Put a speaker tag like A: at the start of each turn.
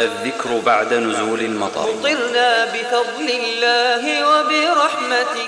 A: الذكر بعد نزول المطر
B: مطرنا بفضل الله وبرحمته